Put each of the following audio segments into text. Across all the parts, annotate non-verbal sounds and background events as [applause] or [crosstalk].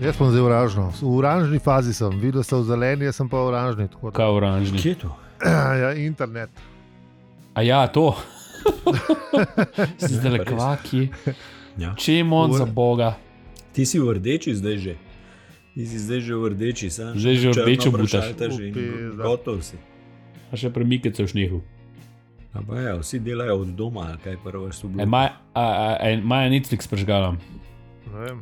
Jaz sem zdaj oranžno. V oranžni fazi sem, videl sem v zeleni, jaz sem pa oranžni. tako da- Kaj oranžni. Kje je to? [laughs] Ja, internet. A ja, to. Zdaj le pa res. kvaki. Ja. Čemu on Ur- za boga? Ti si v rdeči zdaj že. Ti si zdaj že v rdeči, sam. Zdaj že v rdečo butaš. Že in Upizda. gotov si. A še premike so v šnehu. A pa ja, vsi delajo od doma, ali kaj prvo so E, bili. Maja Netflix prežgalam. Ne vem,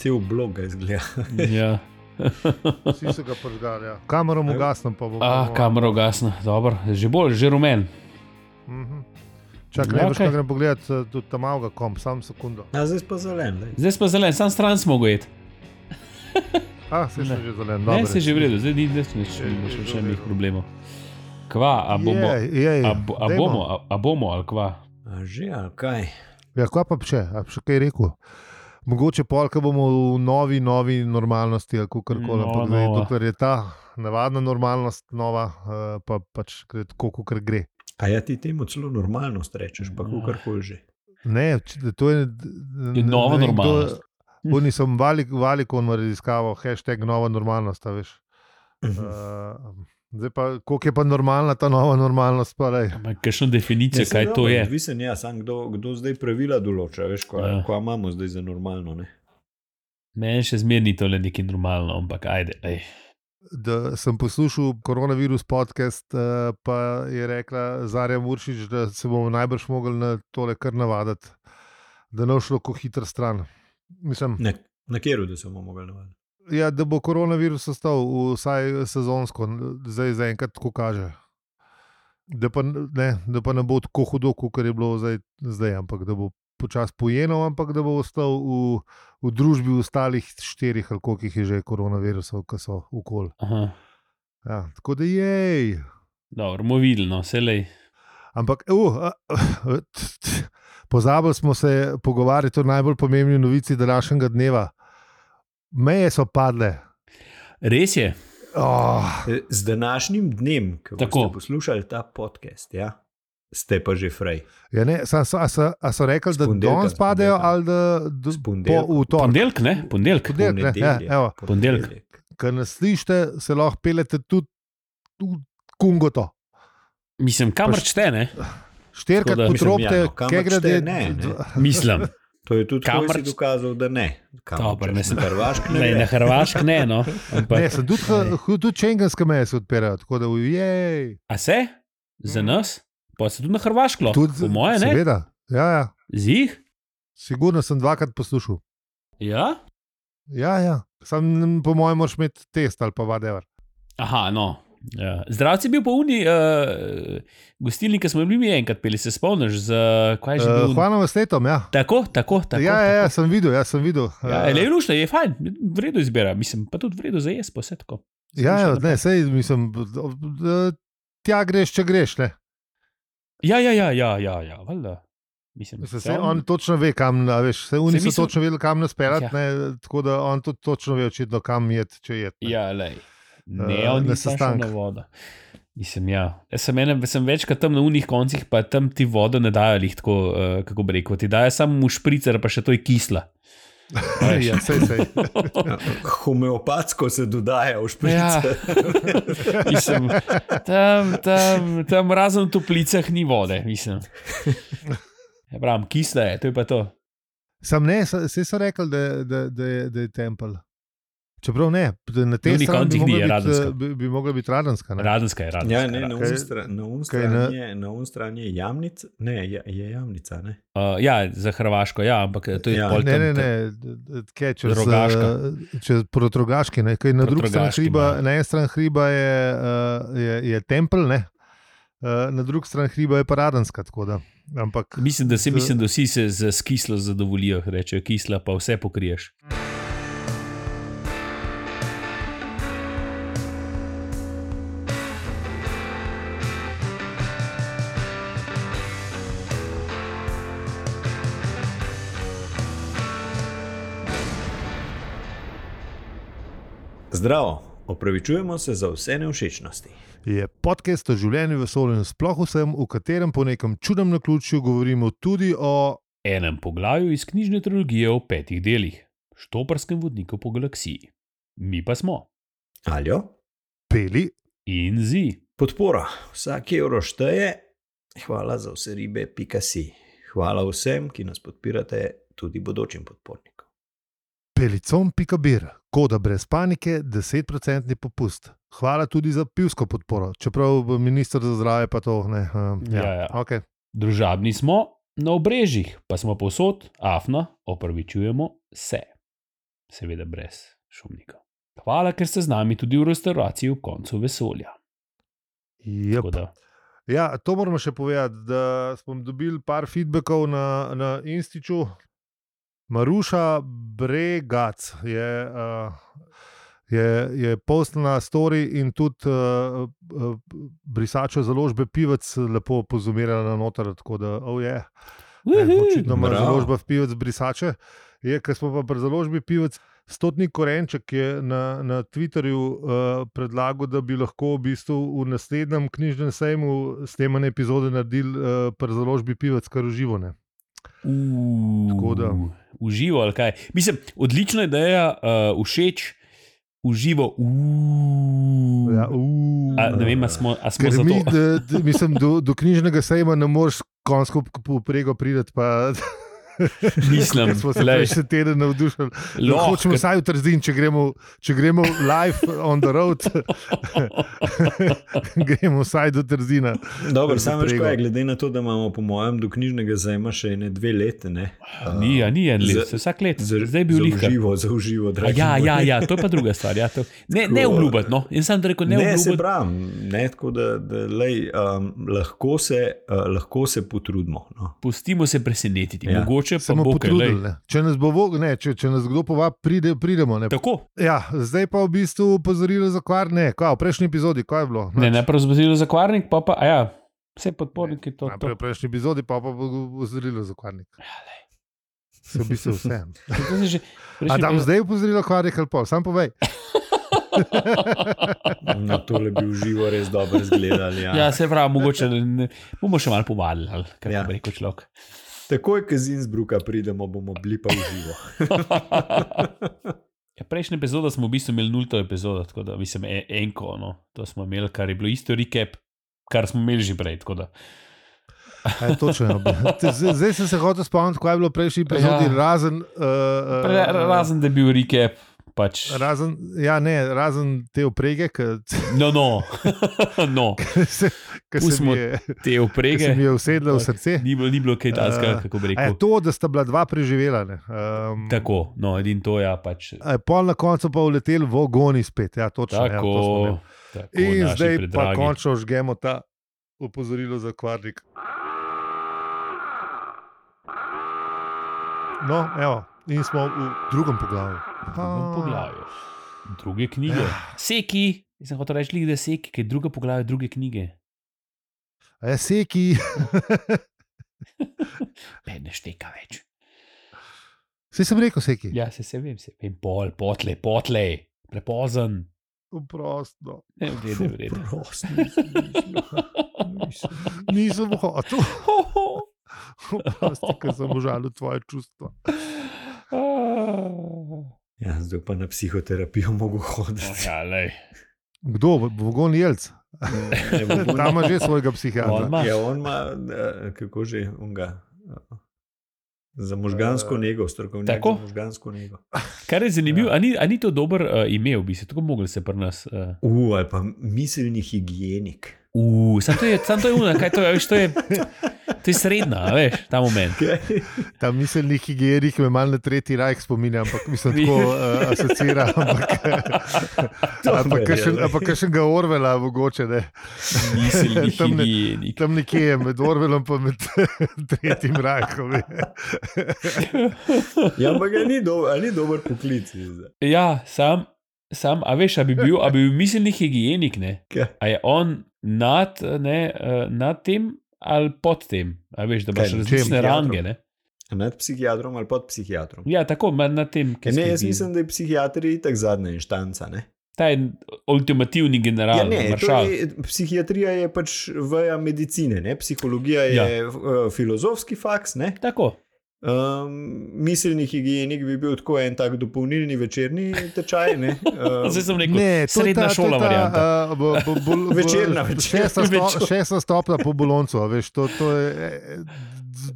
Cel blog ga izgleda. [laughs] Ja. Vsi so ga požgali. Ja. Kamero mu gasnem, pa bomo. Ah, kamera ugasna, dobro, že bolj, že rumen. Mhm. Čakaj, ne Ja, boš okej. kaj grem pogledat, eh, tudi tam avga komp, sam sekundo. A zdaj pa zelen. daj. Zdaj pa zelen, sam stran smo gojeti. Ah, se še že zelen. Ne, dobro. se že vredo, zdaj ni več nič, Je- nimaš je več že v nobenih redu. problemov. Kva, a bomo, Je, je, a, bo, a dajmo. bomo, a, a bomo ali kva? A že, ali kaj? Ja, kva pa če, a bi še kaj rekel. Mogoče polka bomo v novi, novi normalnosti, ali kako koli. Ampak Nova, zdaj, No, nova. dokler je ta navadna normalnost nova, eh, pa pač gre tako, kot gre. A ja ti temu celo normalno rečeš, Ja. pa kakorkoli že. Ne, če- to je, Je nova ne vem, kdo- normalnost. Oni so valiko raziskavo, hashtag nova normalnost, a veš. Uh, zdaj pa, koliko je pa normalna ta nova normalnost, pa rej. Ampak kakšno definicijo, Ja, saj kaj to dobro, je? Odvisen je, sam kdo, kdo zdaj pravila določa, veš, Ja. kaj ja. imamo zdaj za normalno. Ne? Meni še zmeraj ni tole nekaj normalno, ampak ajde. Ej. Da sem poslušal koronavirus podcast, eh, pa je rekla Zarja Muršič, da se bomo najbrž mogli na tole kar navaditi, da ne bo šlo ko hitro stran. Mislim, Na, na kjeru, da se bomo mogli navaditi. ja, da bo koronavirus ostal vsaj sezonsko, zdaj zaenkrat tako kaže. Da pa ne, da pa ne bo tako hudo, kot je bilo zdaj, zdaj, ampak da bo počasi pojenil, ampak da bo ostal v, v družbi ostalih štirih, ali koliko jih je že koronavirusov, ki so okoli. Aha. Ja, tako da je. Dobro, bomo videli, no, selej. Ampak, uh, uh, [sniffs] pozabili smo se pogovarjati o najbolj pomembni novici današnjega dneva. Meje so padle. Res je, Oh, E, Z današnjim dnem, ko Tako. ste poslušali ta podcast, ja, ste pa že fraj. ja ne, sa, sa, a so, a so rekli, S da ponedeljka, danes s padejo, ponedeljka. ali da do, S ponedeljka. po, v torek. ponedeljk, ne, ponedeljk. Ponedeljek, ne, ja, evo. Ponedeljek. Ker nas slišite, se lahko pelete tudi v Kungoto. Mislim, kamor Pa š- [laughs] čte, ne, Štirikrat Tako da- Mislim, ja, potropite, no, kamor kaj grede. šteje, ne, ne. mislim. To je tudi Kamor- kamor si dokazal, da ne. Dobro, ne sem- Hrvaški. [laughs] Ne, na Hrvaškem ne, no. Ampak, Ne, sem tudi, tudi, tudi čengenske meje se odpirajo, tako da ujej. a se? Za Mm. nas? Pa se tudi na Hrvaškem, Tudi po moje, ne? Seveda, ja, ja. Zih? Sigurno sem dvakrat poslušal. Ja? Ja, ja. Sam, po mojem, moraš imeti test ali pa vadever. Aha, no. Ja. Zdravci je bil po uni, uh, gostilnik, ki smo bili mi enkrat peli, se spomniš, z uh, kaj je že Uh, bilo. Uh, Hvala vam, stetom, ja. tako, tako, tako. Tako, ja, ja, tako. ja, sem videl, ja, sem videl. Ja, Eh, le je lušno, je fajn, vredno izbira, mislim, pa tudi vredno za jaz, pa vse tako. ja, ja, Slišano. ne, sej, mislim, eh, tja greš, če greš. Ne. Ja, ja, ja, ja, ja, ja valjda. Mislim, Se, saj se, on točno ve, kam, a veš, se oni Saj so mislim- točno vedeli, kam nas pelati, Ja. ja. tako da on tudi točno ve, očitno, kam je, če je. Ja, lej. Eh, Ne, on na je sestan sestank. na vodo. Mislim, ja. Jaz sem, ene, sem večkrat tam na unih koncih, pa tam ti vodo ne dajo, lih tako, uh, kako bi rekel. Ti dajo samo v špricer, pa še to je kisla. A veš. [laughs] ja, sej, sej. Homeopatsko se dodaja v šprice. Ja. [laughs] Mislim, tam, tam, tam razen v toplicah ni vode, mislim. Ja, pravim, kisla je, to je pa to. Sam ne, se, se so rekli, da, da, da, je, da je tempel. Čeprav ne, da na Na tej onih strani bi koncih ni, mogla je biti, Radenska. eh, bi, bi mogla biti radenska. ne. Radenska je radenska. Ja, ne, na Kaj- uni stran- na uni kaj strani ne- je- na uni strani je jamnica, ne, je, je jamnica, ne. Uh, ja, za Hrvaško, ja, ampak eh, to je Ja. pol Ne, tam, ne, tam- ne, tke čez Rogaška. eh, Čez protrogaški, ne, kaj na drugi strani Protrogaški, hriba, ja. na eni strani hriba je, eh, je, je tempel, ne, eh, na drugi strani hriba je paradanska, tako da. Ampak Mislim, da se To- mislim, da vsi se z s kislo zadovoljijo, rečejo kisla, pa vse pokriješ. Zdravo, opravičujemo se za vse neušečnosti. je podcast o življenju, vesolju in sploh vsem, v katerem po nekem čudnem naključju govorimo tudi o Enem poglavju iz knjižne trilogije v petih delih. Štoprskem vodniku po galaksiji. Mi pa smo. Aljo, Peli, In zi. podpora, vsak evro šteje, hvala za vse ribe, pika si. Hvala vsem, ki nas podpirate, tudi bodočim podpornikom. pelicom pika bir, koda brez panike, 10% popust. Hvala tudi za pivsko podporo, čeprav bo minister za zdravje pa to ne. Um, ja, Ja, ja. Okay. Družabni smo, na obrežjih pa smo povsod, afna, opravičujemo se. Seveda brez šumnika. Hvala, ker ste z nami tudi v restauraciji ob koncu vesolja. Yep. Tako da, Ja, to moramo še povedati, da smo dobili par feedbackov na, na Instiču. Maruša Bregac je, uh, je, je postala story in tudi uh, uh, brisačo založbe Pivec lepo pozumirala noter, tako da oh je. Yeah. Uhu. Očitno ima Bravo. založba v Pivec brisače. Je, ker smo pa pri založbi Pivec, Stotnik Korenček je na, na Twitterju uh, predlagal, da bi lahko v, bistvu v naslednjem knjižnem sejmu s tem ene epizode naredili uh, pri založbi Pivec, kar uživone. Uuu, Tako da. Uživo ali kaj. Mislim, odlična ideja, uh, všeč, uživo. Uuu. Ja, uu. Uh. a, ne vem, a smo, a smo Ker za mi, to. da, da, mislim, do, do knjižnega sejma ne moreš konjsko poprego priti, pa Mislim, [laughs] ker smo se glej. prejšnji teden navdušili. No, Lahko, hočemo ker- vsaj v Trzin, če gremo, če gremo live on the [laughs] road, gremo vsaj do Trzina. Dobro, Za samo veš prego. kaj, glede na to, da imamo, po mojem, do knjižnega zajema še ne dve leti, ne? Ni, ja, ni en Za- let, vsak let. Za- Zdaj je bil za lihkar. uživo, za uživo, A dragi. Ja, moji. ja, ja, to je pa druga stvar. Ja, to- ne ne Tako. obljubiti, no. In sam rekel, ne, Ne, se obljubiti. pravim, ne, tako da, da lej, um, lahko, se, uh, lahko se potrudimo. No. Pustimo se presenetiti, ja. Ja. mogoče pa Samo bo kaj. glej. potrudili. ne. Če nas, bo, vo- ne, če, če nas kdo pova, pride, pridemo. Ne. Tako, Ja, zdaj pa v bistvu opozorilo za kvar. Ne, kva, v prejšnji epizodi, kaj je bilo? ne, najprej zbudili za kvarnik, pa pa, a ja, vse podporniki to. Ja, Najprej to. v prejšnji epizodi, pa pa bo opozorilo za kvarnik. Se v bistvu vse. To se že- A prejšnji tam pa- zdaj opozorilo kvarnik ali pol, sam povej. Na tole bi uživo res dobro zgledali. Ja. [laughs] Ja, se pravi, mogoče ne, bomo še malo povadili, ali kako ja. Ja. bi rekel človek. Takoj, ko z Innsbrucka pridemo, bomo bili pa uživo. Ja, prejšnja epizoda smo v bistvu imeli nulto epizodo, tako da mislim, e- enko, no, to smo imeli, kar je bilo isto recap, kar smo imeli že prej. tako da. A je točno, ja. Te- z- Zdaj sem se hotel spomniti, kaj je bilo v prejšnji epizodi, Ja. razen. Uh, Pre, razen da je bil recap, pač. Razen, ja, ne, razen te oprege, ki No, no, [laughs] no. se, ki se, Pustimo mi je- te ki se oprege. mi je usedla v Ampak srce. Ni bilo, ni bilo kaj takega, Eh, kako bi A rekel. je to, da sta bila dva preživela. ne? Um, Tako, no, edin to ja pač. a je Pol na koncu pa uletel v ogoni spet. Ja, točno, ja, to smo imeli. Tako. tako In naši zdaj pa predragi. končno žgemo ta opozorilo za kvarnik. No, evo, in smo v drugem poglavju. V drugem poglavju. Druge knjige. Ah. Seki, jaz sem hotel reči, da je seki, ker je drugo poglavje druge knjige. A je seki, Ne, ne šteka več. vse sem rekel, seki. Ja, se, se vem, se vem, pol, potlej, potlej, prepozen. Uprostno. Ne, v redu, v [laughs] redu. Prosti, nisem mislil, nisem mislil. Nisem hotel, Ho, ho. Oprosti, ker sem užalil tvoje čustva. Ah. Ja, zdaj pa na psihoterapijo mogo No, hoditi. Ja, lej. Kdo, Vogon Jelc? [laughs] Ne bo bolj- Tam ima že svojega On psihiatra. ima- Ja, on ima, eh, kako že, unga. Za možgansko Eh, nego, strokovnjak. tako? Za možgansko nego. Kar je zanimivo, ja. a, ni, a ni to dober uh, ime, v bistvu, tako mogli se pri nas. Uh, U, ali pa miselni higienik. [laughs] Uh, sam to je, sam to je uno, kaj to je, veš, to je, to je srednja, a veš, ta moment. Kaj? Ta miselni higienik me malo na tretji rajk spominja, ampak mislim, da tako uh, asocira. eh, To ne, ne. Ampak kakšen ga Orvela, mogoče ne. [laughs] Miselni Tam ne- higienik. Tam nekje je med Orvelom in med [laughs] tretjim rajkom. Ja, ampak a ni, do, a ni dober poklic. zdaj. Ja, sam, sam, a veš, a bi bil, a bi bil miselni higienik, ne? Kaj? A je on nad, ne, eh, nad tem ali pod tem, a veš, da imaš Kaj, različne čem? range, ne? Nad psihiatrom ali pod psihiatrom. Ja, tako, ma- nad tem, Ja, ki ne, jaz skrbi. mislim, da je psihiater itak zadnja inštanca. Ne? Ta je ultimativni general, Ja, ne, ne, maršal. torej, psihiatrija je pač veja medicine, ne? psihologija je Ja. ja. filozofski faks, ne? Tako, Um, miselni higienik bi bil tako en tak dopolnilni večerni tečaj. [laughs] ne. Um, Zdaj sem rekel, Ne, to je srednja ta, eh, šola varianta. varianta. Večerna, večerna, Šesta, sto, večer. šesta stopna po Boloncu, a veš, to, to je. eh,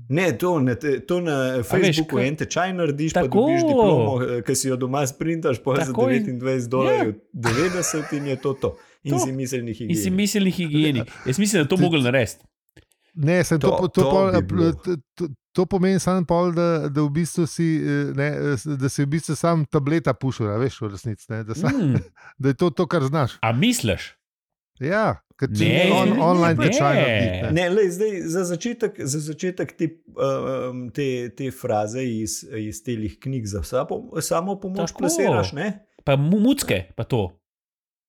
Ne, to, ne, te- to na Facebooku kaj- en tečaj narediš, tako. Tako. pa dobiš diplomo, eh, ki si jo doma sprintaš, pa za Tako in- 29 dolarjev, 90 in je to to. In Ja. To. si miselni In si higienik. mislili higienik. Jaz mislim, da to Ti- mogel narediti. Ne, sem to, To- to, to, to to, pol, bi eh, bilo. to, to, to pomeni samo pol, da, da v bistvu si, eh, ne, eh, s- da si v bistvu sam tableta pušil, a veš, v resnici. Ne, da, sam, Mm, da je to to, kar znaš. a misliš? Ja, ker če Ne, ne, on, ne, online ne. tečaj narediš. Ne. Ne, lej, zdaj, za začetek, za začetek te, um, te, te fraze iz, iz telih knjig za samo, samo pomoč Tako. plasiraš, ne? Pa mu- mucke, pa to.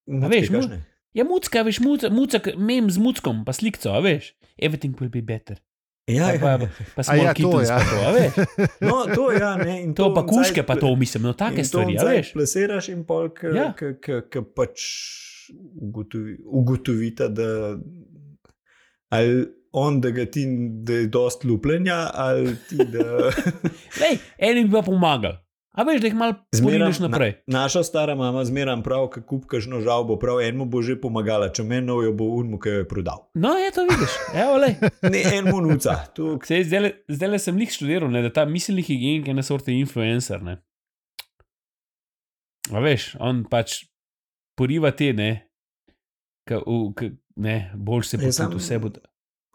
Mu veš, tekaš, mu- ne? Ja, mucka, veš, muca, muca, mem z muckom, pa slikco, a veš. Everything will be better. Ja, Pa, ja. pa, pa A smo ja, ja, to, kitli, ja. ja. to, a [laughs] veš. No, to, ja, ne, in [laughs] To pa on kuške, zdaj- pa to mislim, no take In to stvari, a zdaj veš. Plesiraš in pol, ki Ja. ja. pač ugotovi, ugotovita, da ali on, da ga ti, da je dost lupljenja, ali ti, da. Lej, eni bi pa pomagal. A veš, da jih malo zmeriš na- naprej. naša stara mama zmeram prav, ki kupkaš no žalbo, prav enemu bo že pomagala, če meni jo bo unmu, ki jo je prodal. No, je to vidiš. Evo, lej. Ne, enemu nuca. To, Sej, zdaj, zdaj le sem jih študiral, ne, da ta miselni higienik je ena sorta influencer. Ne. A veš, on pač poriva te, ne, ka, v, ka, ne bolj se Ja, počuti, samo- vse bo.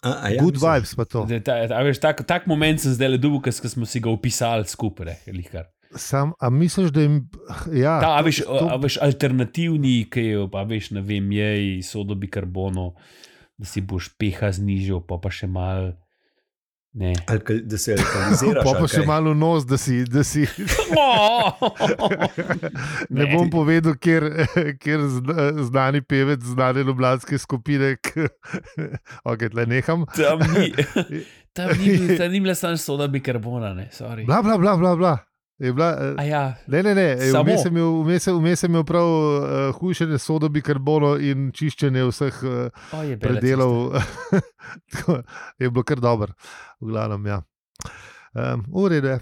a, a, ja, Good mislim. vibes pa to. Da, ta, a veš, tak, tak moment sem zdaj le dubu, ki smo si ga opisali skupaj. Ne, Sam, a misliš, da jim. Ja, Ta, a to- veš, to- a, a veš, alternativni, ki je, pa veš, ne vem, je iz sodobi karbono, da si boš pH znižal, pa pa še mal. [laughs] Ne. [laughs] Ali ka- Da se realiziraš. Pa pa še malo nos, da si. Da si [laughs] ne, No, Ne. ne bom povedal, [laughs] ker, ker znani pevec, znane ljubljanske skupine, [laughs] ok, tle neham. Tam ni, [laughs] tam ni, bil- tam ni bila samo soda bikarbona, ne, sorry. Bla, bla, bla, bla. bla. Je bila, eh, A ja, ne, ne, ne, Samo. vmes sem imel- vmes sem- vmes sem imel prav uh, hujšenje sodobi karbono in čiščenje vseh uh, o, je bila predelov. [laughs] Tako, je bilo kar dobro, v glavnem. Ja. Um, Urede.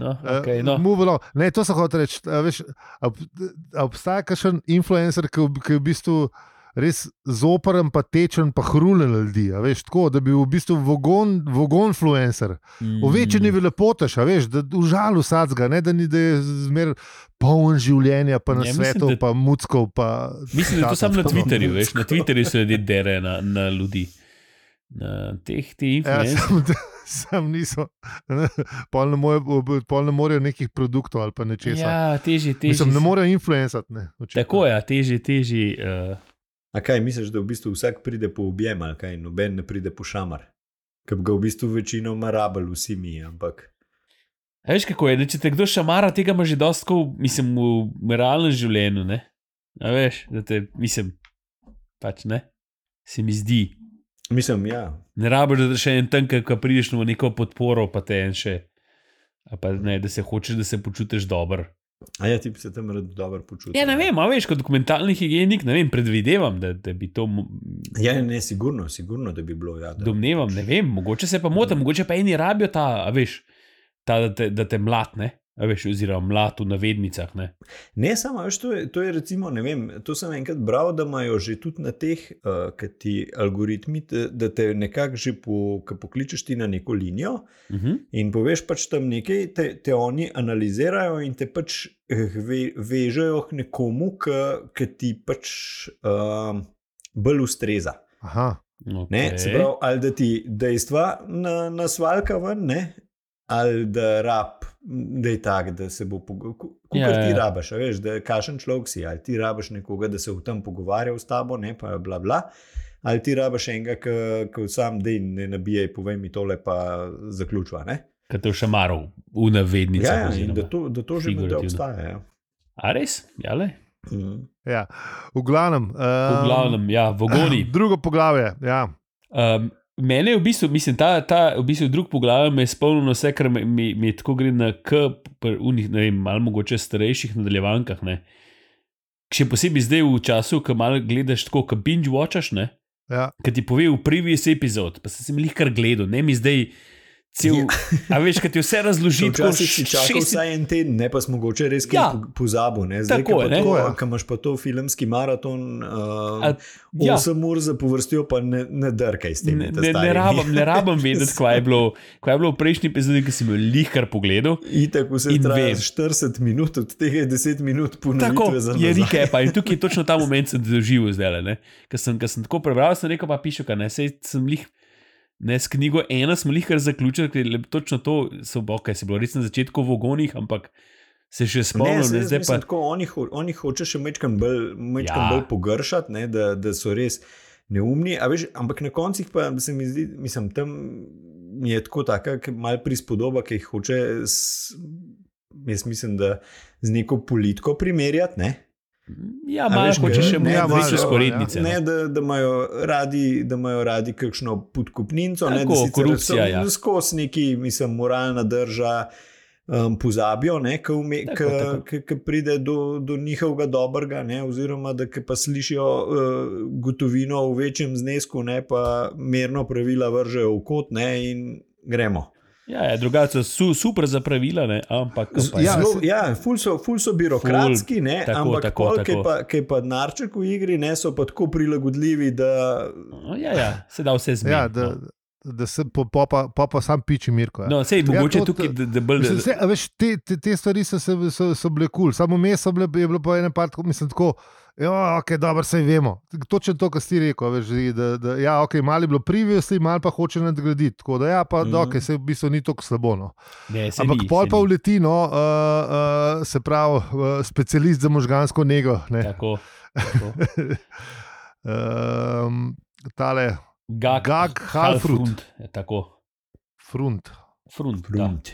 No, okej, no. no. Ne, to sem hotel reči. a Veš, a ob, a obstaja kakšen influencer, ki, v- ki je v bistvu res zoprn, pa tečen, pa hrulen ljudi. a Veš, tako, da bi bil v bistvu vogon, vogon influencer. Mm. Ovečeni velepoteš, a veš, da užal vsadzga, ne da ni da je zmer poln življenja, pa na ja, Ja, mislim, svetu, da- da... pa muckov. Pa Mm. Mislim, da je to samo na tako, no. Twitterju, veš, na Twitterju se ljudje dere na, na ljudi. Na teh, te Ja, [laughs] influencerje. sam, sam niso, pol ne, more, pol ne morejo nekih produktov ali pa nečesa. Ja, Ja, težje, težje. Mislim, ne se- morejo influencati. Ne, očitno. Tako je, ja, težje, težje. Uh, A kaj misliš, da v bistvu vsak pride po objem, ali kaj, noben ne pride po šamar? Ker bi ga v bistvu večinoma rabili, vsi mi, ampak veš, kako je, da če te kdo šamara, tega ima že dosti, tako, mislim, v realnem življenju. Ne? A veš, da te, mislim, pač ne, se mi zdi. mislim, ja. Ne rabiš, da še en tam, ki prideš v neko podporo, pa te en še. a Pa, ne, da se hočeš, da se počutiš dobro. A ja, ti bi se tam rad dobro počutil. Ja, ne vem, a veš, kot dokumentarni higienik, ne vem, predvidevam, da, da bi to, mo- Ja, ne, sigurno, sigurno, da bi bilo. Ja, da. domnevam, ne vem, mogoče se pa motim, mogoče pa eni rabijo ta, a veš, ta, da te, da te mlatne, a veš, oziroma mlat v navednicah. Ne. Ne, samo veš, to je, to je recimo, ne vem, to sem enkrat bral, da imajo že tudi na teh, uh, ki ti algoritmi, te, da te nekako že po, ko pokličeš ti na neko linijo, Uh -huh. In poveš pač tam nekaj, te, te oni analizirajo in te pač eh, ve, vežejo k nekomu, ki ti pač um, bolj ustreza. Aha, Ne? Okay. Se pravi, ali da ti dejstva na, nasvalka ven, ne? ali da rab, da je tak, da se bo pogovarjal. Ja, Kukar ti ja. rabaš, a veš, da kašen človek si, ali ti rabaš nekoga, da se v tem pogovarja s tabo, ne pa bla bla. Ali ti rabaš enega, ki sam dej ne nabijaj, povej mi tole, pa zaključva. Ne? Kaj te v šamaru, v navednicah. Ja, ja, in oziroma. da to, da to že menda figurativno. obstaja. Ja. A res? Ja, le. Mm. ja. V glavnem. V Um, glavnem, ja, vogoni. [clears throat] Drugo poglavje. Ja. Um, mene je v bistvu, mislim, ta, ta v bistvu drug poglavje me je spomnil na vse, kar mi- mi mi je tako gre na K, pri unih, ne vem, malo mogoče starejših nadaljevankah. Ne. Še posebej zdaj v času, ko malo gledaš tako, ko binge watchaš, ne. Ja. Ki ti pove v previous epizod, pa sem jih kar gledal, ne mi zdaj Cel, a veš, kaj ti vse [laughs] razloži, Že tako Ja. včasih si čakal šest- vsaj en teden, ne pa si mogoče res Ja. ja. pozabil. Ne? Zdaj, Tako ko je, pa ne. Tako je. to- ko imaš pa to filmski maraton, Ali- uh, ja. 8 ur za povrstjo, pa ne, ne drkaj s tem. Ne, ne, ne, rabim, ne rabim vedeti, kaj je bilo, kaj je bilo v prejšnji epizodi, ki si jo lihkar pogledal. [laughs] Itak vse In vem. traja 40 minut, od tega je 10 minut Tako ponovitve za je nazaj. reke, pa [laughs] in tukaj je točno ta moment, sem doživel zdaj. Ker sem, ker sem tako prebral, sem rekel, pa piše, kaj ne, sej sem lih. Ne, s knjigo ena smo jih kar zaključili, ker je le- točno to, okay, se je bilo res na začetku v ogonih, ampak se še Ne, spomnim, se, ne, zdaj zdaj mislim, pa pa... tako, oni, ho, oni hoče še mečkam bolj, Ja. ja. bolj pogršati, ne, da, da so res neumni. a Veš, ampak na koncih pa se mi zdi, mislim, tam je tako taka ke- mal prispodoba, ki jih hoče, s, jaz mislim, da z neko politiko primerjati. Ne. ja, A malo veš, hoče kaj? še Ne, malo malo, večje ja. sporednice. no. Ne, da, da, imajo radi, da imajo radi kakšno podkupnico, ne, Tako, da sicer korupcija, so ja. Skozi neki, mislim, moralna drža. Um, pozabijo, Tako, tako. ki pride do, do njihovega dobrega, ne, oziroma da ke pa slišijo uh, gotovino v večjem znesku, ne pa merno pravila vržejo v kot ne, in gremo. Ja, ja, drugače so su, super za pravila, ne, ampak ko pa je- ja, Ja, Zelo, se- ja ful, so, ful so birokratski, ful, ne, tako, tako, ampak tako, tako, tako. tako. Pa, ki je pa narček v igri, ne so pa tako prilagodljivi, da No, ja, ja, se da vse zmeti. Ja, da, da se po, po, pa, pa, pa sam piči Mirko. Ja. No, sej, Ja, mogoče to- tukaj, da, da bolj Mislim, se, a veš, te, te, te stvari so, se- so, so bile kul, cool. samo me so bile, je bilo pa ena part, ko mislim tako. Ja, ok, dobro, se vemo. Točno to, kar si rekel, veš, da, da ja, okay, malo je bilo previously, malo pa hoče nadgraditi. Tako da, ja, pa mm Mhm. -hmm. okay, se v bistvu ni tako slabo. No. Ne, saj Ampak ni, pol saj pa ni. uleti, no, uh, uh, se pravi, uh, specialist za možgansko nego. Ne. [laughs] Tako, tako. Um, tale Gag, Gag Halfrud. je Tako, frunt, frunt. Da. Frunt.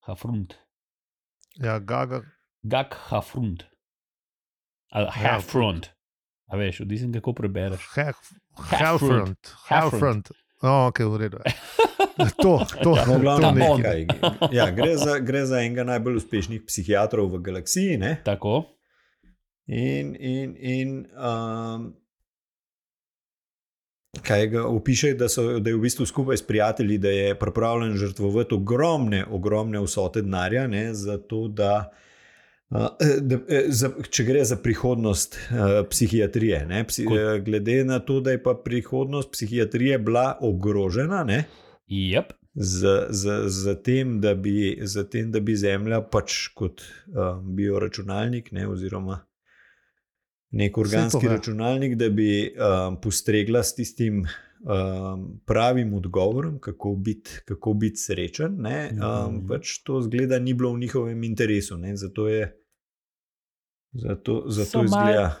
Hafrunt. ja, gaga, Gag hafrunt. Ja. Ali hafrunt. A veš, odvisno kako prebereš. Halfront. Halfront. No, ok, v redu. je. To, to, No, to glavno, Ta on. nekaj. Ja, gre, za, gre za enega najbolj uspešnih psihiatrov v galaksiji. Ne? Tako, In, in, in um, kaj ga opiše, da, so, da je v bistvu skupaj s prijatelji, da je pripravljen žrtvovati ogromne, ogromne vsote denarja, ne, zato da. Uh, da, eh, za, če gre za prihodnost uh, psihiatrije, ne, psi, Kot- eh, glede na to, da je pa prihodnost psihiatrije bila ogrožena, ne, jep, z, z, z, tem, da bi, z tem, da bi Zemlja pač kot um, bioračunalnik, ne, oziroma nek organski ve. računalnik, da bi um, postregla s tistim um, pravim odgovorom, kako biti kako biti srečen. Ne, um, Mhm. pač to zgleda ni bilo v njihovem interesu. Ne, zato je, zato, So zato malo- izgleda,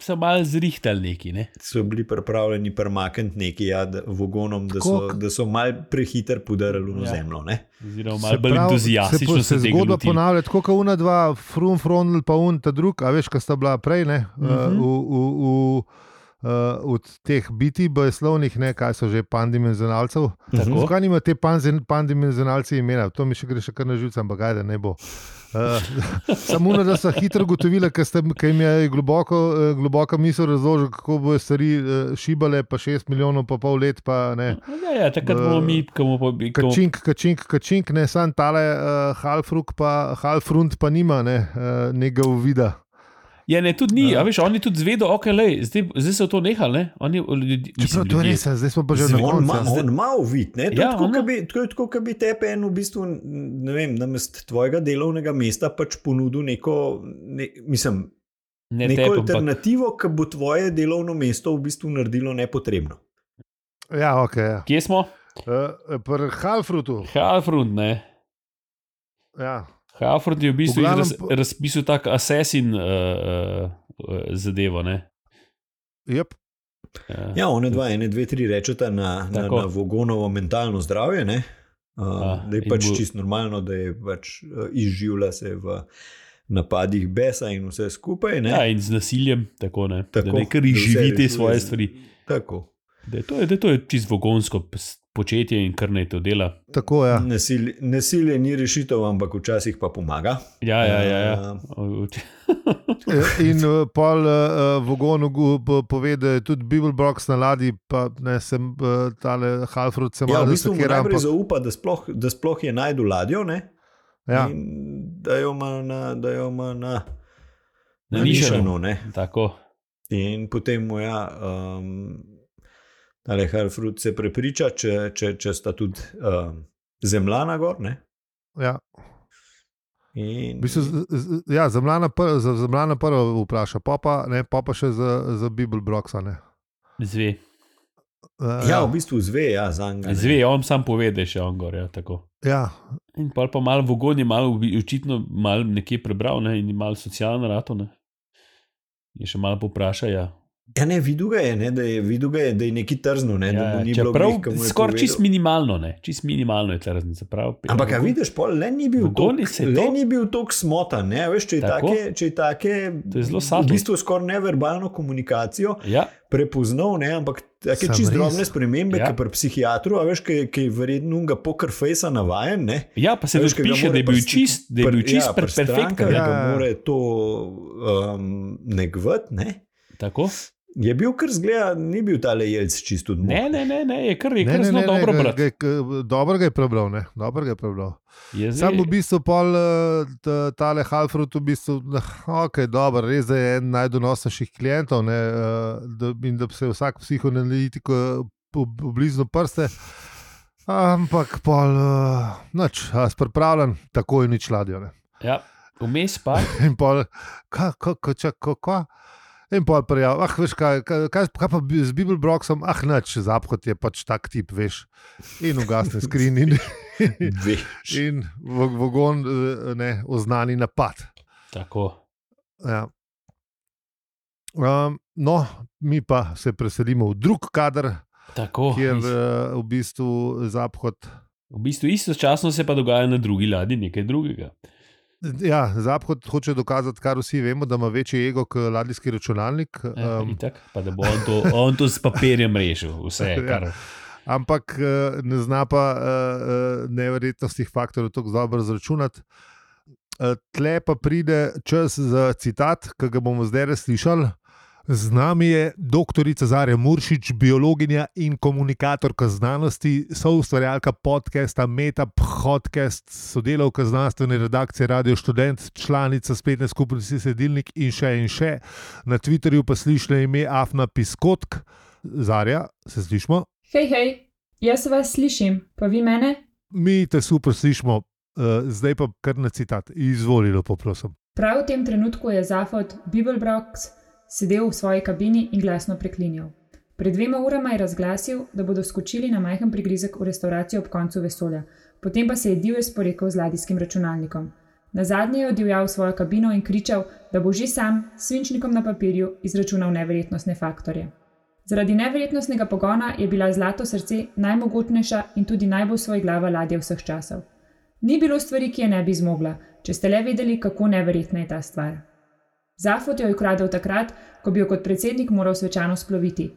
so malo zrihtal neki, ne? so bili pripravljeni premakniti nekaj ja, da- vogonom, da so, Tako- da so mal prehiter podarili v Ja. ja. zemljo. Ne. Oziroma, Se malo bolj pravi, entuzijastično po- se, se tega zgodba lotili. ponavlja, tako kot una dva, frum, frontal, pa un, ta drug, a veš, kaj sta bila prej, ne, uh, Mhm. v, v, v, uh, od teh biti, bojslovnih, ne, kaj so že pandimenzionalcev. Tako. Zakaj nima te panzen- pandimenzionalci imena? To mi še gre še kar na živce, ampak ajde, ne bo. Uh, [laughs] samo ono, da so hitro ugotovili, ker ste- ker jim je globoko, eh, globoka misel razložila, kako bojo stvari eh, šibale, pa 6 milijonov, pa pol let, pa ne. Ja, ja, takrat bomo mi, ko bomo pa bili Kačink, kačink, kačink, ne sam tale uh, Halfruk, pa Halfrund pa nima ne, uh, nekega uvida. Ja, ne, tudi ni, ja. veš, oni tudi zvedo, ok, lej, zdaj, zdaj so to nehali, ne? Oni, ljudi, mislim, Čeprav to je ljudje- res, a zdaj smo pa že na Zdaj, On koncu. ja. ima, a? on ima uvid, ne? to Ja, je tako, on ke ima. bi- to je tako, kot bi tepe en v bistvu, ne vem, namest tvojega delovnega mesta pač ponudil neko, ne, mislim, Ne, neko tepem, ampak- alternativo, ki bo tvoje delovno mesto v bistvu naredilo nepotrebno. Ja, ok. Ja. Kje smo? Uh, Pri Halfrutu. Halfrund, ne. Ja. Halford je v bistvu V jih glavnem raz, po- razpisal tako asesin uh, uh, zadevo. Ne? Yep. Uh, Ja, one dva, ene, dve, tri rečeta na, na, Tako. na Vogonovo mentalno zdravje. Ne? Uh, Ah, da je in pač bo- bo... čisto normalno, da je pač uh, izživlja se v napadih besa in vse skupaj. Ne? ja, in z nasiljem, tako ne. Tako, da Tako, nekaj da vse živi te rešuje svoje z- stvari. Tako. Da je to, je, da je to je čisto vogonsko, početje in kar naj to dela. Tako Mm. je. Ja. Nasilje, nasilje ni rešitev, ampak včasih pa pomaga. Ja, ja, ja. Ehm, ja. O- o- In eh, pol uh, Vogon pove, da je tudi Bibelbrox na ladji, pa ne sem uh, tale Halfrud, sem Ja, malo v bistvu mu zasekiran, najprej ampak- zaupa, da sploh, da sploh je najdu ladjo ne? Ja, in da jo ima na, da jo ima na, Na na nišanu. nišanu, ne. Tako. In potem mu ja, um, ali Harfrud se prepriča, če, če, če sta tudi um, zemlja na gor. Ne? ja. In V bistvu, z- z- ja zamlana, pr, za zamlana prva vpraša, pa pa, ne, pa, pa še za, za Bibelbroxa. Uh, Zve. Eh, ja, v bistvu zve, ja, za njega. Zve, on sam pove, da je še on gor. Ja, tako. ja, in pol pa malo vogon je malo, ubi- očitno malo nekje prebral ne? in je malo socialno rato. Ne? Je še malo poprašal. Ja. Ja, ne, videl ga je, ne, da je, videl ga je, da je neki trzno, ne, da mu Ja, ni bilo čeprav glih, ko mu je skoraj povedal. čist minimalno, ne, čist minimalno je ta raznica. Prav, Ampak, a vidiš, pol, le ni bil Vogoni ja, se le to- ni bil tako smotan. Ne? a Veš, če je Tako. take, če je take To je zelo v subtle. bistvu skoraj neverbalno komunikacijo Ja, prepoznal, ne? ampak take Samo res. čist drobne spremembe, Ja. ja. ki pri psihiatru, a veš, ki ki je verjetno ga poker fejsa navajen. Ne? ja, pa se A veš, tudi ki ga piše, more da je bil pri sti- čist, da je bil pri- čist ja, per, pri perfekten. strankah, Ja, da ja. mora to um, negvati. Ne? Tako? Je bil kar zgleda, ni bil tale jelc čisto Ne, odmoren. ne, ne, ne, je kar, je ne, kar ne, zelo ne, no, dobro ne, ga- brati. ga- ga- dobro ga je prebral. Ne, dobro ga je prebral. Je zdaj- Sam v bistvu pol eh, ta- tale Halfrud, v bistvu, ok, dober, res da je eden najdonosnejših klientov ne, eh, da, in da se vsak psihoanalitik eh, ob- oblizne prste. Ampak pol, eh, nič, a si pripravljen, tako je nič ladjo. Ne. Ja, vmes pa. In pol, ka, ka, ka, čak, ka, ka. In pol prijav, ah, veš, kaj, kaj, kaj, kaj pa bi- z Bibelbroxom, ah, nič, zapkot je pač tak tip, veš. In ugasne skrin in, in [laughs] Veš. in v- vogon eh, ne, oznani napad. Tako. Ja. Um, no, mi pa se preselimo v drug kader, Tako. oh, kjer uh, v bistvu zapad. V bistvu istočasno se pa dogaja na drugi ladji nekaj drugega. Ja, zapad hoče dokazati, kar vsi vemo, da ima večji ego kot ladijski računalnik. Ja, Um, itak, pa da bo on to, on to s papirjem rešil, vse. Ja. Kar, ampak eh, ne zna pa eh, eh, neverjetnostnih faktorjev tako dobro zračunati. Eh, Tle pa pride čas za citat, ki ga bomo zdaj res slišali. Z nami je dr. Zarja Muršič, biologinja in komunikatorka znanosti, soustvarjalka podcasta Meta Podcast, sodelavka znanstvene redakcije Radio Student, članica spletne skupnosti Sedilnik in še in še. Na Twitterju pa slišite ime Afna Piskotk. Zarja, se slišmo? Hej, hej, jaz vas slišim, pa vi mene? mi te super slišimo, uh, zdaj pa kar na citat. Izvolilo, poprosim. Prav v tem trenutku je Zafod Bibelbrox sedel v svoji kabini in glasno preklinjal. Pred dvema urama je razglasil, da bodo skočili na majhen prigrizek v restauracijo ob koncu vesolja, potem pa se je divje sporekel z ladijskim računalnikom. Na zadnje je odjavljal svojo kabino in kričal, da bo že sam s svinčnikom na papirju izračunal neverjetnostne faktorje. Zaradi neverjetnostnega pogona je bila Zlato srce najmogočnejša in tudi najbolj svoj glava ladja vseh časov. Ni bilo stvari, ki je ne bi zmogla, če ste le vedeli, kako neverjetna je ta stvar. Zafot jo je ukradel takrat, ko bi jo kot predsednik moral svečano sploviti.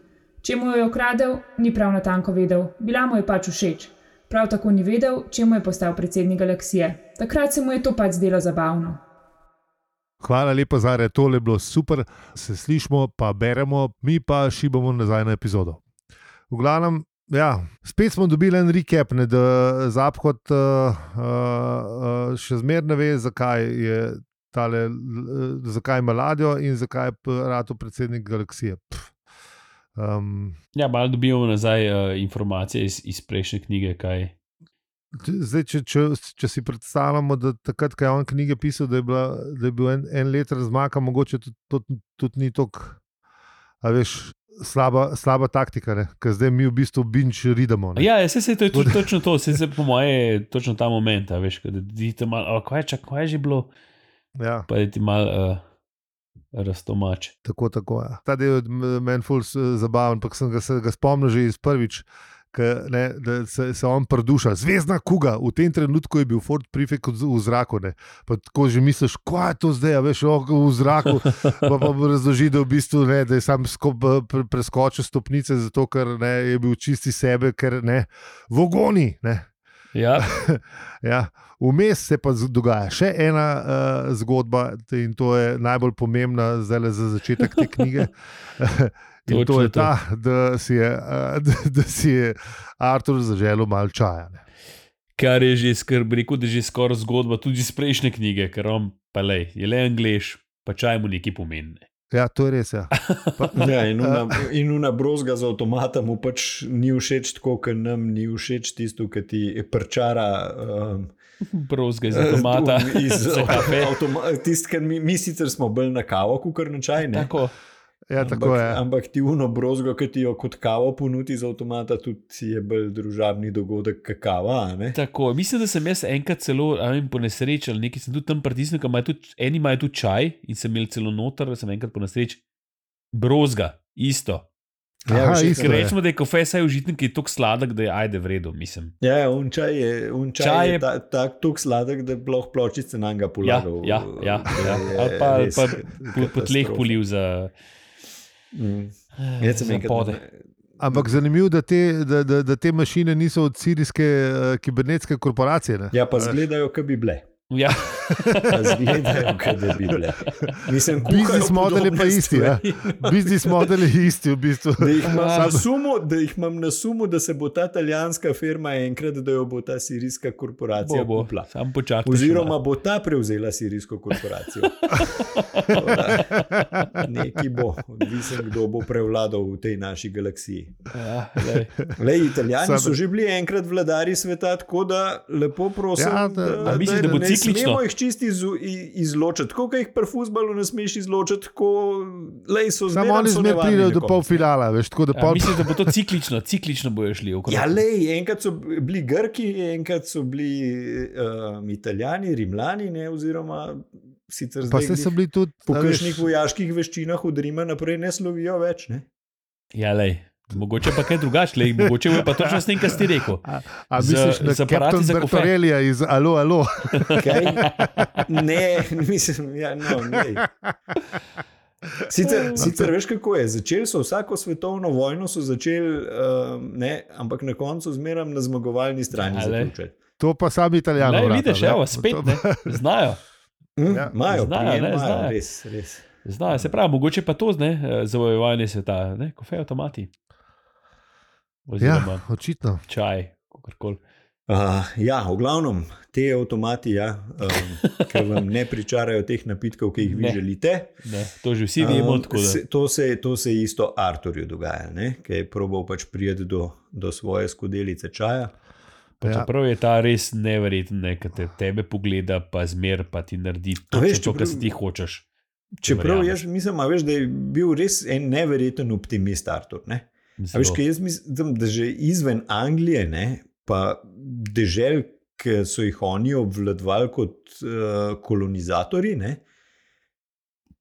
Če mu jo je ukradel, ni prav natanko vedel, bila mu je pač všeč. Prav tako ni vedel, čemu je postal predsednik galaksije. Takrat se mu je to pač zdelo zabavno. Hvala lepa, Zare, tole je bilo super, se slišmo, pa beremo, mi pa šibamo nazaj na epizodo. V glavnem, ja, spet smo dobili en recap, ne, da zapad uh, uh, še zmeraj ne ve, zakaj je. Tale, eh, zakaj ima ladjo in zakaj je rado predsednik galaksije? Pff. Um, ja, malo dobivamo nazaj uh, informacije iz, iz prejšnje knjige, kaj. Če- Zdaj, če, če, če si predstavljamo, da takrat, ko je on knjige pisal, da je, bila, da je bil en, en let razmaka, mogoče tudi, tudi, tudi ni tako, a veš, slaba, slaba taktika, ker zdaj mi v bistvu binč ridamo. ne. Ja, ja, saj se to je [laughs] tudi točno to, se se po moje je točno ta moment, a veš, ko da ti tam malo, "A, kaj je, čak, kaj je že bilo, Ja, pa je ti malo uh, raztomač. tako, tako. Ja. Ta del je meni ful s- zabaven, ampak sem ga, se ga spomnil že iz prvič. Ka, ne, da se, se on prduša, zvezdna kuga. V tem trenutku je bil Ford Prefect v v zraku. ne. Pa Tako že misliš, kaj je to zdaj, a veš, oh, v zraku. Pa pa mu razloži, da, v bistvu, ne, da je sam skop, pre, preskočil stopnice, zato ker ne, je bil čisti sebe, ker ne, vogoni. Ne. Ja, Ja. Vmes se pa z- dogaja še ena uh, zgodba, t- in to je najbolj pomembna zdaj za začetek te knjige. in Točno to je to. ta, da si je, uh, da, da si je Artur zaželel malo čaja. Ne. kar je že skrb, rekel, da je že skoraj zgodba, tudi iz prejšnje knjige, ker on pa lej, je le angliš, pa čaj mu nekaj pomeni. ne. Ja, to je res. Ja. Pa, Ja, [laughs] in una, in una brozga z avtomata mu pač ni všeč, tako kot nam ni všeč tisto, ki ti prčara. Um, Brozga iz avtomata. Eh, [laughs] Iz za kafe. avtomata. Tisti, ki mi, mi sicer smo bolj na kavo, kot na čaj. Ne? Tako, ja, tako ampak, je. ampak ti uno brozgo, ki ti jo kot kavo ponudi z avtomata, tudi je bolj družabni dogodek, kot kava. a ne. tako. Mislim, da sem jaz enkrat celo, a ne vem, po nesreči ali nekaj, sem tudi tam pritisnil, ker imajo tudi, eni imajo tudi čaj in sem imel celo noter, sem enkrat po nesreči brozga, isto. Ja, Aha, všeč mi isto Ker je. rečemo, da je kofe saj užitnik, ki je tako sladek, da je ajde vredno, mislim. Ja, ja, un čaj je, un čaj Čaj čaj je- je... Ta, ta, tako sladek, da bi lahko pločice na njega Ja, polagal. ja, ja, [laughs] ja. Je ali pa, ali res pa po, po tleh katastrofa. polil za. Mm. Eh, Jaz sem za enkrat pode. Ampak zanimivo je, da, te- da, da, da te mašine niso od sirijske uh, kibernetske korporacije. Ne. Ja, pa zgledajo, kot bi bile. Ja, Pa Zgledajo, kot da bi bile. Mislim, kuhajo Biznis model je podobne pa isti, ja. stvari. Biznis model je isti, v bistvu. Da jih, imam na Samo- sumu, da jih imam na sumu, da se bo ta italijanska firma enkrat, da jo bo ta sirijska korporacija bo, bo. kupila. Sam počakaj. Oziroma bo ta prevzela sirijsko korporacijo. [laughs] Tako da, Nekaj bo, odvisen, kdo bo prevladal v tej naši galaksiji. Ja, [laughs] glej. Lej, Italijani Sam- Sam... so že bili enkrat vladari sveta, tako da lepo prosim, Ja, ja, da- da, A da, misliš, da bo ne ciklično? smemo jih čisti iz, izločiti. Tako, kot jih pri fuzbalu ne smeš izločiti, tako lej, so zmeraj. Samo oni so zmeraj nevarni pridejo do nekomu. polfinala, veš, tako da Ja, pol mislim, da bo to ciklično, ciklično bojo šli. okrog. Ja, lej, enkrat so bili Grki, enkrat so bili um, Italijani, Rimljani, ne, oziroma sicer Pa zdaj. se so glih bili tudi Po a veš, kakšnih vojaških veščinah od Rima naprej ne slovijo več. Ne? ja lej. Mogoče pa kaj drugače, lej. mogoče bo pa točno s tem, kar si rekel. A, a Z- misliš z na aparati Captain za kofe. Bertorelija iz Alo, Alo? Kaj? Ne, [laughs] mislim, ja, no, ne. Sicer, No, sicer veš, kako je. Začeli so vsako svetovno vojno, so začeli, um, ne, ampak na koncu zmeraj na zmagovalni strani. Ja, lej. zaključili. To pa sam italijan. Lej, vidiš, evo, spet ne. Znajo. Hm, Ja, Imajo, znajo, prijem ne, imajo, znajo. res, res. Znajo, se pravi, mogoče pa to ne, eh, zavojevanje sveta, ne, kofe avtomati. Oziroma Ja, ja. očitno. čaj, kakorkoli. Uh, ja, v glavnem, te avtomati, ja, um, ker vam ne pričarajo teh napitkov, ki jih vi Ne. želite. Ne, To že vsi vemo, Um, tako da. se- To se, to se isto Arturju dogaja, ne? ki je probal pač priti do, do svoje skodelice čaja. Pa Ja. Čeprav je ta res neverjeten, ne, ki te tebe pogleda, pa zmer pa ti naredi A točno veš, to, kar čeprav- si ti hočeš. Čeprav Verjameš. jaz mislim, a veš, da je bil res en neverjeten optimist Artur. Ne? A Zelo. veš, kaj jaz mislim, da že izven Anglije, ne? pa dežel, ki so jih oni obvladovali kot uh, kolonizatorji, ne?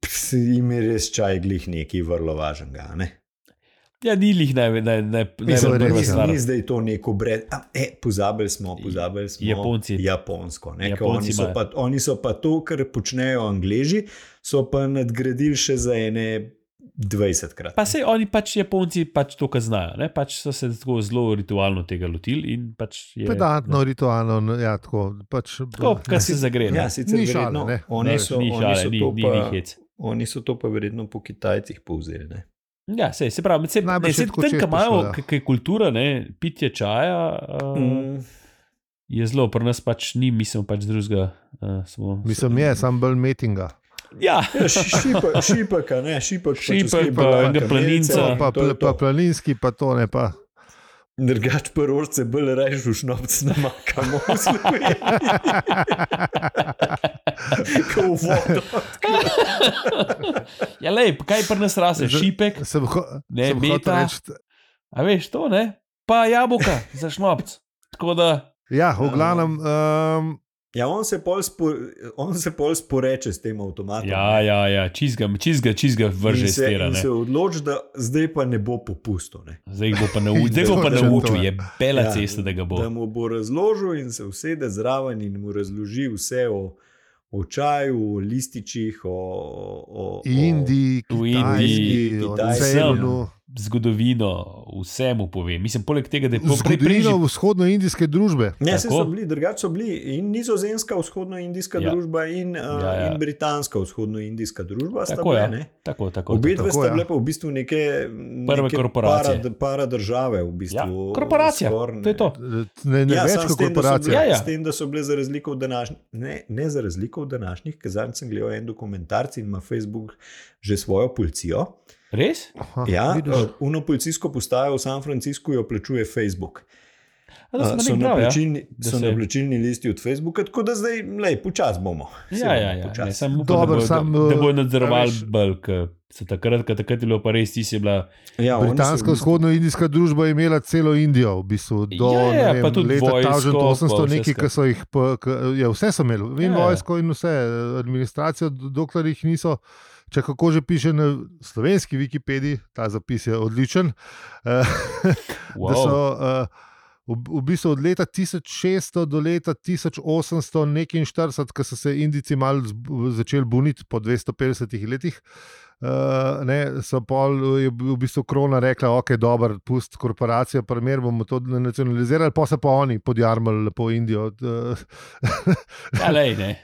se jim je res čaj glih nekaj vrlo važnega. a Ne? Ja, ni jih naj, naj, naj, Mislim, najbolj da prva res stvar. Ni zdaj to neko brez. A, e, pozabili smo, pozabili smo. Japonci. Japonsko. Ne, ker Japonci oni, so imajo. pa, oni so pa to, kar počnejo Angliji, so pa nadgradili še za ene 20 krat. Pa se oni pač, Japonci pač to, kar znajo, ne? pač so se tako zelo ritualno tega lotili in pač je. Pedantno, ritualno, no, ja, tako. Pač, Tako, kar se zagre. Ja, Ja, sicer Ni ni šale, verjetno. ne. Šale, oni, Ne, so, ni oni, šale, so ni- to ni- ni hec. pa, oni so to pa verjetno po Kitajcih povzeli. Ne? ja sej, se pravi, se, Najbrž ne, je se tako tam, čez ki prišlo, imajo, ja. ki- ki je kultura, ne, pitje čaja, uh, mm. Mm. je zelo, pri nas pač ni, mislim pač drugega. Uh, smo, Mislim, je, sam bolj metinga. Ja, Ja, ši- šipek, šipek, a ne, šipek, pač Šipek pa enega planinca. Pa, Ja, pa, pl, pa planinski, pa to ne. Pa. Drugač, prvorce bolj rajš v šnopc namakamo v [laughs] Sloveniji. Kot v vodo. ja lej, kaj pri nas rase, Zdaj- šipek, Sem, ho, Ne, sem hotel meta. reči, A veš to, ne? Pa jabolka za šnopc. Tako da, ja, v glavnem, um, Ja, on se pol, spo, on se pol sporeče s tem avtomatom. Ja, ne. ja, ja čizga, čizga, čizga vrže In iz se, tera. in ne. se odloči, da zdaj pa ne bo popustil. Ne. Zdaj jih bo pa [laughs] naučil, zdaj bo pa Točno to, naučil, ja. je bela Ja, cesta, da ga bo. Da mu bo razložil in se usede zraven in mu razloži vse o, o čaju, o lističih, o, o, o Indiji, V Indiji, Kitajski, o Kitajski, Ceylonu. Zgodovino, vse mu povem. Mislim, poleg tega, da je po- prej preživel. Zgodovino vzhodno-indijske družbe. Ne, saj Tako. so bili, drugače so bili in nizozemska vzhodnoindijska Ja. ja. družba in, Ja, ja, ja. ja. in britanska vzhodnoindijska družba. sta Tako ja. bile, je. ne. Tako, tako, Obe tako. Tako, dve sta ja. bile pa v bistvu neke Prve neke korporacije. Para, para države, v Ja, bistvu. korporacija. skoraj, To je ne. to. Ne, ne ja, več samo kot s tem, da so korporacija. Ja, Bile, ja. S tem, da so bile za razliko od današnjih, ne, ne za razliko od današnjih, ker zadnjič sem gledal en dokumentarc in ima Facebook že svojo policijo. Res? Aha, Ja, vidiš? eh, uno policijsko postajo v San Franciscu jo plačuje Facebook. A, da Eh, smo so nekaj prav, ja. naplačilni- Da so se- naplačilni listi od Facebooka, tako da zdaj, lej, počasi bomo. Saj Ja, bomo ja, ja. Ne, počasi. samo upam, Dobro, da bojo- sam, da bojo eh, nadzorovali a veš- bolj, ker so takrat, ker takrat je bilo pa res, ti si bila. Ja, oni so v Britanska bistvu- vzhodno-indijska družba je imela celo Indijo, v bistvu, do Ja, ne ja, vem, pa tudi leta vojsko, pa 1800, vse nekaj, ki so jih, pa- ke- ja, vse so imeli, in Ja, ja. vojsko, in vse, administracijo, do- dokler jih niso. Če kako že piše na slovenski Wikipediji, ta zapis je odličen. eh, da so Wow. uh, v, v bistvu od leta 1600 do leta 1840, ko so se Indijci malo zb- začeli buniti po 250 letih. Uh, ne, so pol, eh, je bil v bistvu krona rekla, da okay, je dobro, pusti korporacijo, primer bomo to nacionalizirali, pa so pa oni podjarmali lepo Indijo. eh, [laughs] Ja, lej, ne. Ja,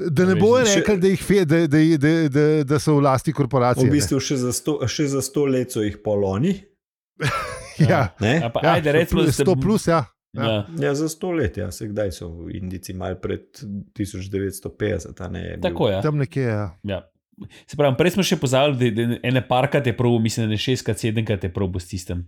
Da ne bojo Še- rekli, da, jih fe, da, da, da, da, da so v lasti korporacije. V ne. bistvu še za sto, še za sto let so jih poloni. [laughs] ja, Ja, Ne? pa, ja, ajde, recimo, da ste- 100 plus, ja. Ja. Ja, za sto let, ja, se kdaj so Indijci, malo pred 1950. a Ne, je bil- Tako je. tam nekje. Ja. Ja. Se pravi, prej smo še pozvali, da, da ene parkrat je prav, mislim, da ne šestkrat, sedemkrat je prav s tistem.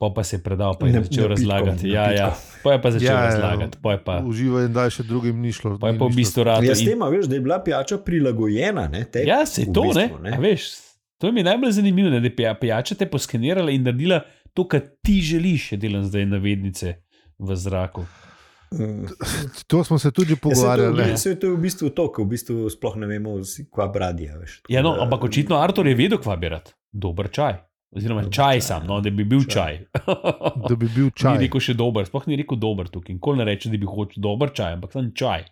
Pa pa se je predal, pa je Ne- začel napitkom, razlagati. Ja, ja. Pa je pa začel Ja, ja. razlagati, pa je pa, Uživaj in daj še drugim ni šlo. pa, je ni pa v nič bistvu rad. Ja, s in- tem, a veš, da je bila pijača prilagojena. Ne, te, Ja, se v to bistvu, ne. ne. Veš, to mi je najbolj zanimivo, ne, da je pija- pijača te poskenirala in naredila to, kar ti želiš, je delam zdaj navednice v zraku. Mm. To smo se tudi [laughs] Ja, saj to, pogovarjali. je- ne. saj to je v bistvu to, ker v bistvu sploh ne vemo, si- kva bradija. Veš, Tako Ja, no, da- ampak očitno [laughs] Artur je vedel, kva bi rad. Dober čaj. Oziroma, Dober čaj čaj. ja. sam, no, da bi bil čaj. Čaj. Da bi bil čaj. Ni rekel še dober, sploh ni rekel dober tukaj. Nikoli ne reče, da bi hotel dober čaj, ampak sem čaj.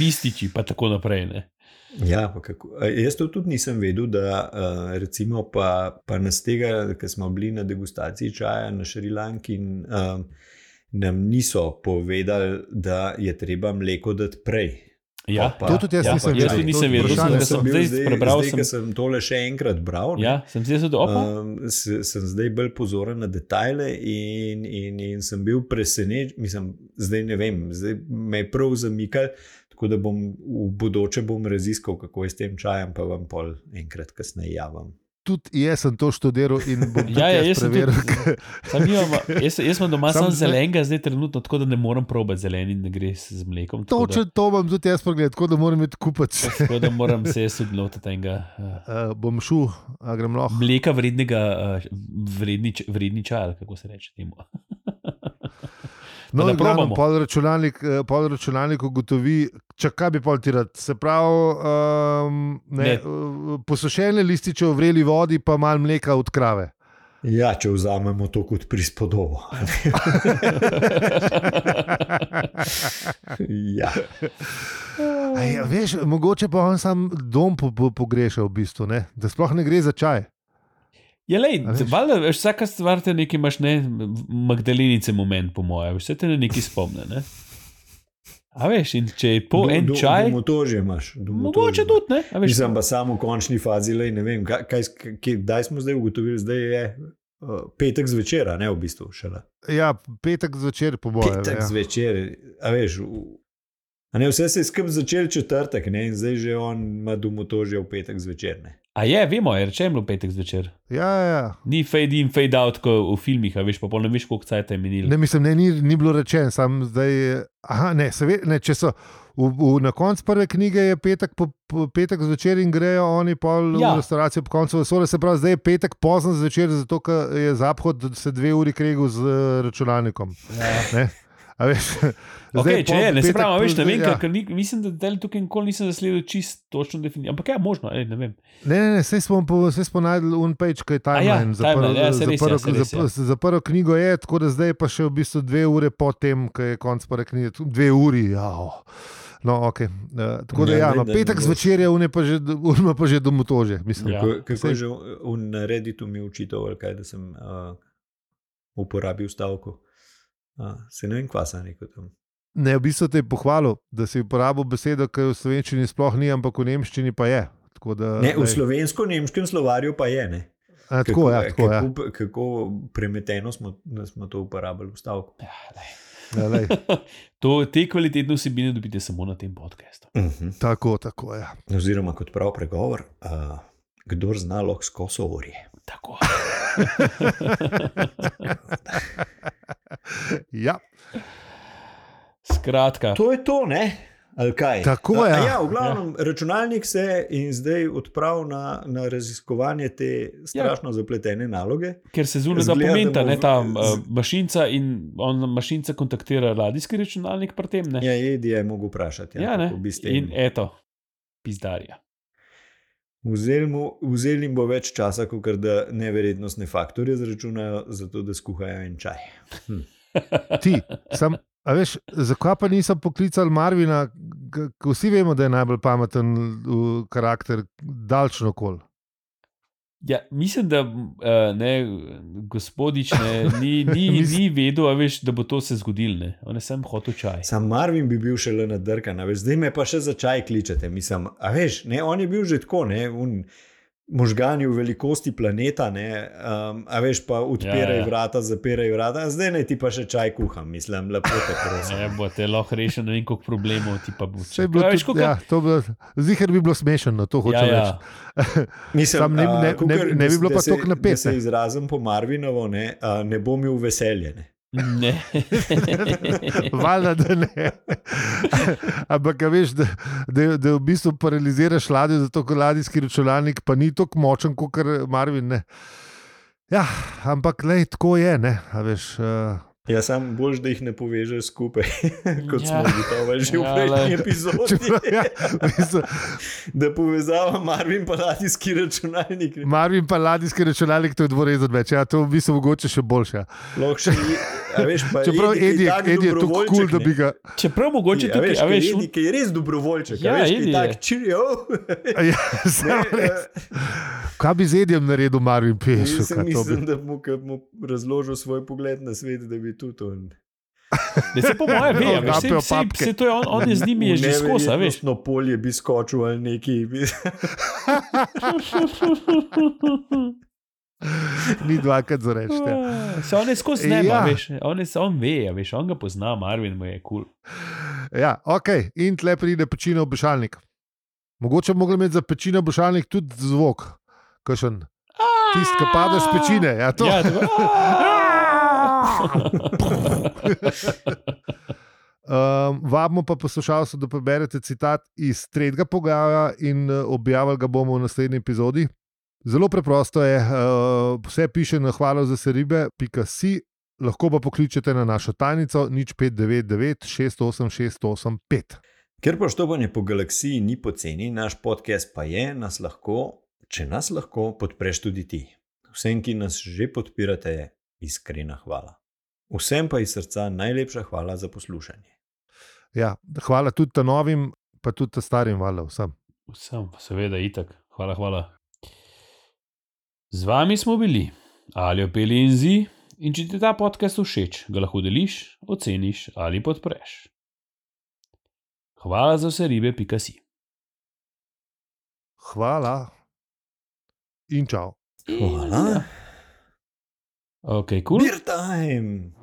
Lističi, pa tako naprej. Ne? Ja, pa kako, a jaz to tudi nisem vedel, da eh, recimo pa, pa nas tega, ker smo bili na degustaciji čaja na Šrilanki in um, nam niso povedali, da je treba mleko dati prej. Ja, Pa- To tudi jaz ja, nisem jaz vedel. tudi nisem To vedel, vprašanje sem, da sem sem bil zdaj prebral. zdaj, sem, ker sem tole še enkrat bral. ne, ja, sem zdaj zvedel, opa. Um, se, sem zdaj bolj pozoren na detajle, in, in, in sem bil presenečen, mislim, zdaj ne vem, zdaj me je prav zamikal. Tako da bom v bodoče bom raziskal, kako je s tem čajem, pa vam pol enkrat kasneje javim. Tudi jaz sem to študiral in bom Ja, tudi ja, jaz jaz sem tudi- preveril. [laughs] ker- Sam nimam, jaz, jaz imam doma Sam samo zdaj- zelenega, zdaj trenutno tako, da ne morem probati zelen in ne gre s- z mlekom. Tako da, Točno to bom tudi jaz pogledal, tako da moram imeti kupec. [laughs] tako da moram [laughs] se jaz odločiti enega. eh, Uh, bom šel, a grem lahko. Mleka vrednega, eh, vredni, č- vredni čaj, ali kako se reče temu. [laughs] No, da in No, glavno, probamo. pol računalnik, eh, pol računalnik ugotovi, če kaj bi pol tirat. Se pravi, um, ne, Ne. ne. posušene lističe v vreli vodi, pa malo mleka od krave. Ja, če vzamemo to kot prispodobo. [laughs] ja. A Mm. Ja, veš, mogoče pa on sam dom po, po, pogreša, v bistvu, ne? da sploh ne gre za čaj. Ja, lej, A veš? valjda, veš, vsaka stvar te nekaj imaš, ne, Magdalenice moment, po mojem, vse te na nekaj spomne. Ne? A veš, in če je po Do- en do- čaj, Domotožje imaš. mogoče domotožje. tudi, ne? A veš, Mislim pa samo v končni fazi, lej, ne vem, kaj, kaj, kaj, kdaj smo zdaj ugotovili, da je uh, petek zvečer, a ne v bistvu šele. Ja, petek zvečer, po mojem. Petek ja. zvečer, a veš. V, a ne, vse se je skrb začel četrtek, ne, in zdaj že on ima domotožje v petek zvečer. Ne. a je, vemo, je rečem, v petek zvečer. Ja, ja, ja. Ni fade in fade out, kot v filmih, a veš, pa pol ne veš, koliko cajt je minilo. Ne, mislim, ne, ni, ni bilo rečeno, sam zdaj. je- Aha, ne, seveda, ne, če so. V, v, na koncu prve knjige je petek, po, po, petek zvečer in grejo oni pol Ja. ja. v restavracijo ob koncu vesolja. Se pravi, zdaj je petek pozno zvečer, zato ker je zaphod se dve uri kregel z eh, računalnikom. Ja. Ne? A veš, Okay, če pol je, ne se petek pravi, a veš, ne plus- vem, ja. ja. ker ni, mislim, da del tukaj nikoli nisem zasledil čist točno definicijo. Ampak je možno, ej, ne vem. Ne, ne, ne, saj smo, po- saj smo najdel unpage, kaj je timeline. ja, za, prvo, timeline, ja, saj za, res, prvo, ja, saj res, za, ja. pr- za prvo knjigo je, tako da zdaj je pa še v bistvu dve ure po tem, ko je konc prve knjige. Tu- Dve uri, ja. No, okay. uh, tako da, Ja, ja, daj, no, daj, petek mogoče. zvečer je unaj pa že, unaj pa že domotože. Mislim, Ja. Kako- Kako Saj- je že v- v- na Redditu mi je učitel, ali kaj, da sem uh, uporabil stavko. Uh, se ne vem, kva sem rekel tam. Ne, v bistvu te je pohvalil, da si uporabil besedo, ki v slovenščini sploh ni, ampak v nemščini pa je. Tako da, Ne, v daj. slovensko-nemškem slovarju pa je. Ne? A, tako, ja, tako, ja. kako, kako premeteno smo, da smo to uporabljali v stavku. Ja, lej. Ja, lej, to, te kvalitetne vsebine dobite samo na tem podkastu. Uh -huh. tako, tako, ja. Oziroma, kot pravi pregovor, uh, kdo zna lahko skoso orje. Tako. ja. Skratka, To je to, ne? Ali kaj? Tako, A- a ja. ja v glavnem, ja. računalnik se je in zdaj odpravil na, na raziskovanje te strašno ja. zapletene naloge. ker se zunaj da Zgleda, pomenta, da mu- ne ta uh, mašinca in on mašinca kontaktira radijski računalnik pri tem. Ne? Ja, Edi je mogel vprašati. ja, ne. kako bi s tem. In eto, pizdarja. Vzeli, mu, vzeli jim bo več časa, kot da neverjetnostne faktorje zračunajo, zato da skuhajo en čaj. Ti, sam, a veš, zakaj pa nisem poklical Marvina, k- k- vsi vemo, da je najbolj pameten uh, karakter, daljšno kol. Ja, mislim, da eh, ne, gospodič ne, ni, ni, [laughs] Mislim- ni vedel, a veš, da bo to se zgodilo. ne. On je sam hotel čaj. Sam Marvin bi bil šele nadrkan, a veš, zdaj me pa še za čaj kličete. Mislim, a veš, ne, on je bil že tako, ne, un, možgani v velikosti planeta, ne, um, a veš, pa odpiraj Ja, ja, ja. ja. vrata, zapiraj vrata, a zdaj ne ti pa še čaj kuham, mislim, lepo te Ne prosim. bo te lahko rešil, ne vem, koliko problemov ti pa bo. Saj je bilo Ja, veš, tudi- koliko- ja, to bilo- Zihar bi bilo smešno, to hočem ja, ja. reči. [laughs] Mislim, Sam ne- a, ne- kakor, ne- ne bi da- bilo da pa se- toliko Da napet, se ne. izrazim po Marvinovo, ne, a, ne bom imel veseljene. Ne. Valjda, da ne. [laughs] Ampak a veš, da, da, da v bistvu paraliziraš ladjo, zato ker ladijski računalnik pa ni tako močen kot Marvin. Ne. Ja, ampak lej, tako je, ne. a Veš, [laughs] uh, Ja, sam boš, da jih ne povežeš skupaj, [laughs] [laughs] kot Ja. ja. smo ugotovili že v Ja, prejšnji glej. če, epizodi. prav- ja, v bistvu, Da povezava Marvin pa ladijski računalnik. ne. Marvin pa ladijski računalnik, to je dvorezen več. Ja, to v bistvu mogoče še boljše. Lahko še ni, a veš, pa Čeprav Edi je, Edi je tako kul, da bi ga. [laughs] Čeprav mogoče Če ti tukaj, Ja, veš, a veš, Edi, ki je res dobrovoljček, Ja, ja, veš, ki Edi je je. tak [laughs] čirijo. Ja, samo res. eh, [laughs] Kaj bi z Edijem naredil, Marvin Peš? Mislim, da mu, ke mu razložil svoj pogled na svet, da bi tudi on. ne se po mojem [laughs] ve, a veš, Gapejo sej, sej, papke. sej to je on, on je z njimi je že skozi, a veš. Na polje bi skočil ali neki. [laughs] [laughs] Ni dvakrat za reči. Ja. Se on je skozi nema, Ja. ja. veš, on, je, on ve, a veš, on ga pozna, Marvin mu je kul. Cool. ja, ok, in tle pride pečino obešalnik. Mogoče bi mogli imeti za pečino obešalnik tudi zvok, kakšen. Tisti, ki padaš s pečine. Ja, to. Ja, tako, Um, vabimo pa poslušalce, da preberete citat iz tretjega pogaja in eh, objavili ga bomo v naslednji epizodi. Zelo preprosto je, uh, vse piše na hvala za seribe, pika si, lahko pa pokličete na našo tajnico nič 599 68685. Ker poštovanje po galaksiji ni poceni, naš podcast pa je, nas lahko, če nas lahko, podpreš tudi ti. Vsem, ki nas že podpirate, iskrena hvala. Vsem pa iz srca najlepša hvala za poslušanje. Ja, hvala tudi ta novim, pa tudi ta starim, hvala vsem. Vsem, seveda, itak. Hvala, hvala. Z vami smo bili, ali opeli in zi. In če ti je ta podcast všeč, ga lahko deliš, oceniš ali podpreš. Hvala za vse ribe, pika si. Hvala in čau. Hvala. Ok, kul. Cool. Beer time!